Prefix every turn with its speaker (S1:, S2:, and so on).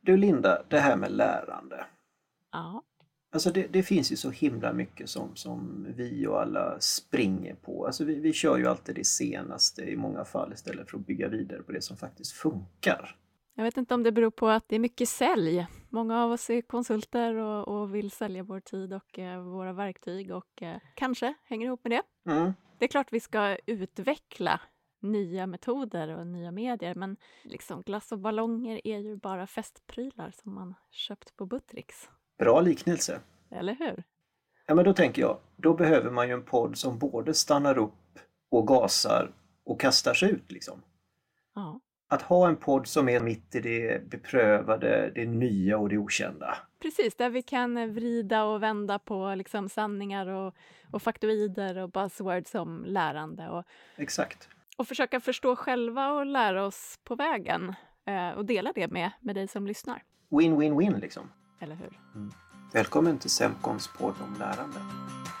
S1: Du Linda, det här med lärande.
S2: Ja.
S1: Alltså det, det finns ju så himla mycket som, som vi och alla springer på. Alltså vi, vi kör ju alltid det senaste i många fall istället för att bygga vidare på det som faktiskt funkar.
S2: Jag vet inte om det beror på att det är mycket sälj. Många av oss är konsulter och, och vill sälja vår tid och eh, våra verktyg och eh, kanske hänger ihop med det.
S1: Mm.
S2: Det är klart vi ska utveckla nya metoder och nya medier men liksom glass och ballonger är ju bara festprylar som man köpt på Buttricks.
S1: Bra liknelse.
S2: Eller hur?
S1: Ja, men då tänker jag, då behöver man ju en podd som både stannar upp och gasar och kastar sig ut. Liksom.
S2: Ja,
S1: Att ha en podd som är mitt i det beprövade, det nya och det okända.
S2: precis. Där vi kan vrida och vända på liksom sanningar och, och faktoider och buzzwords som lärande och,
S1: Exakt.
S2: och försöka förstå själva och lära oss på vägen eh, och dela det med, med dig som lyssnar.
S1: Win-win-win liksom.
S2: Eller hur?
S1: Välkommen till Semkons podd om lärande.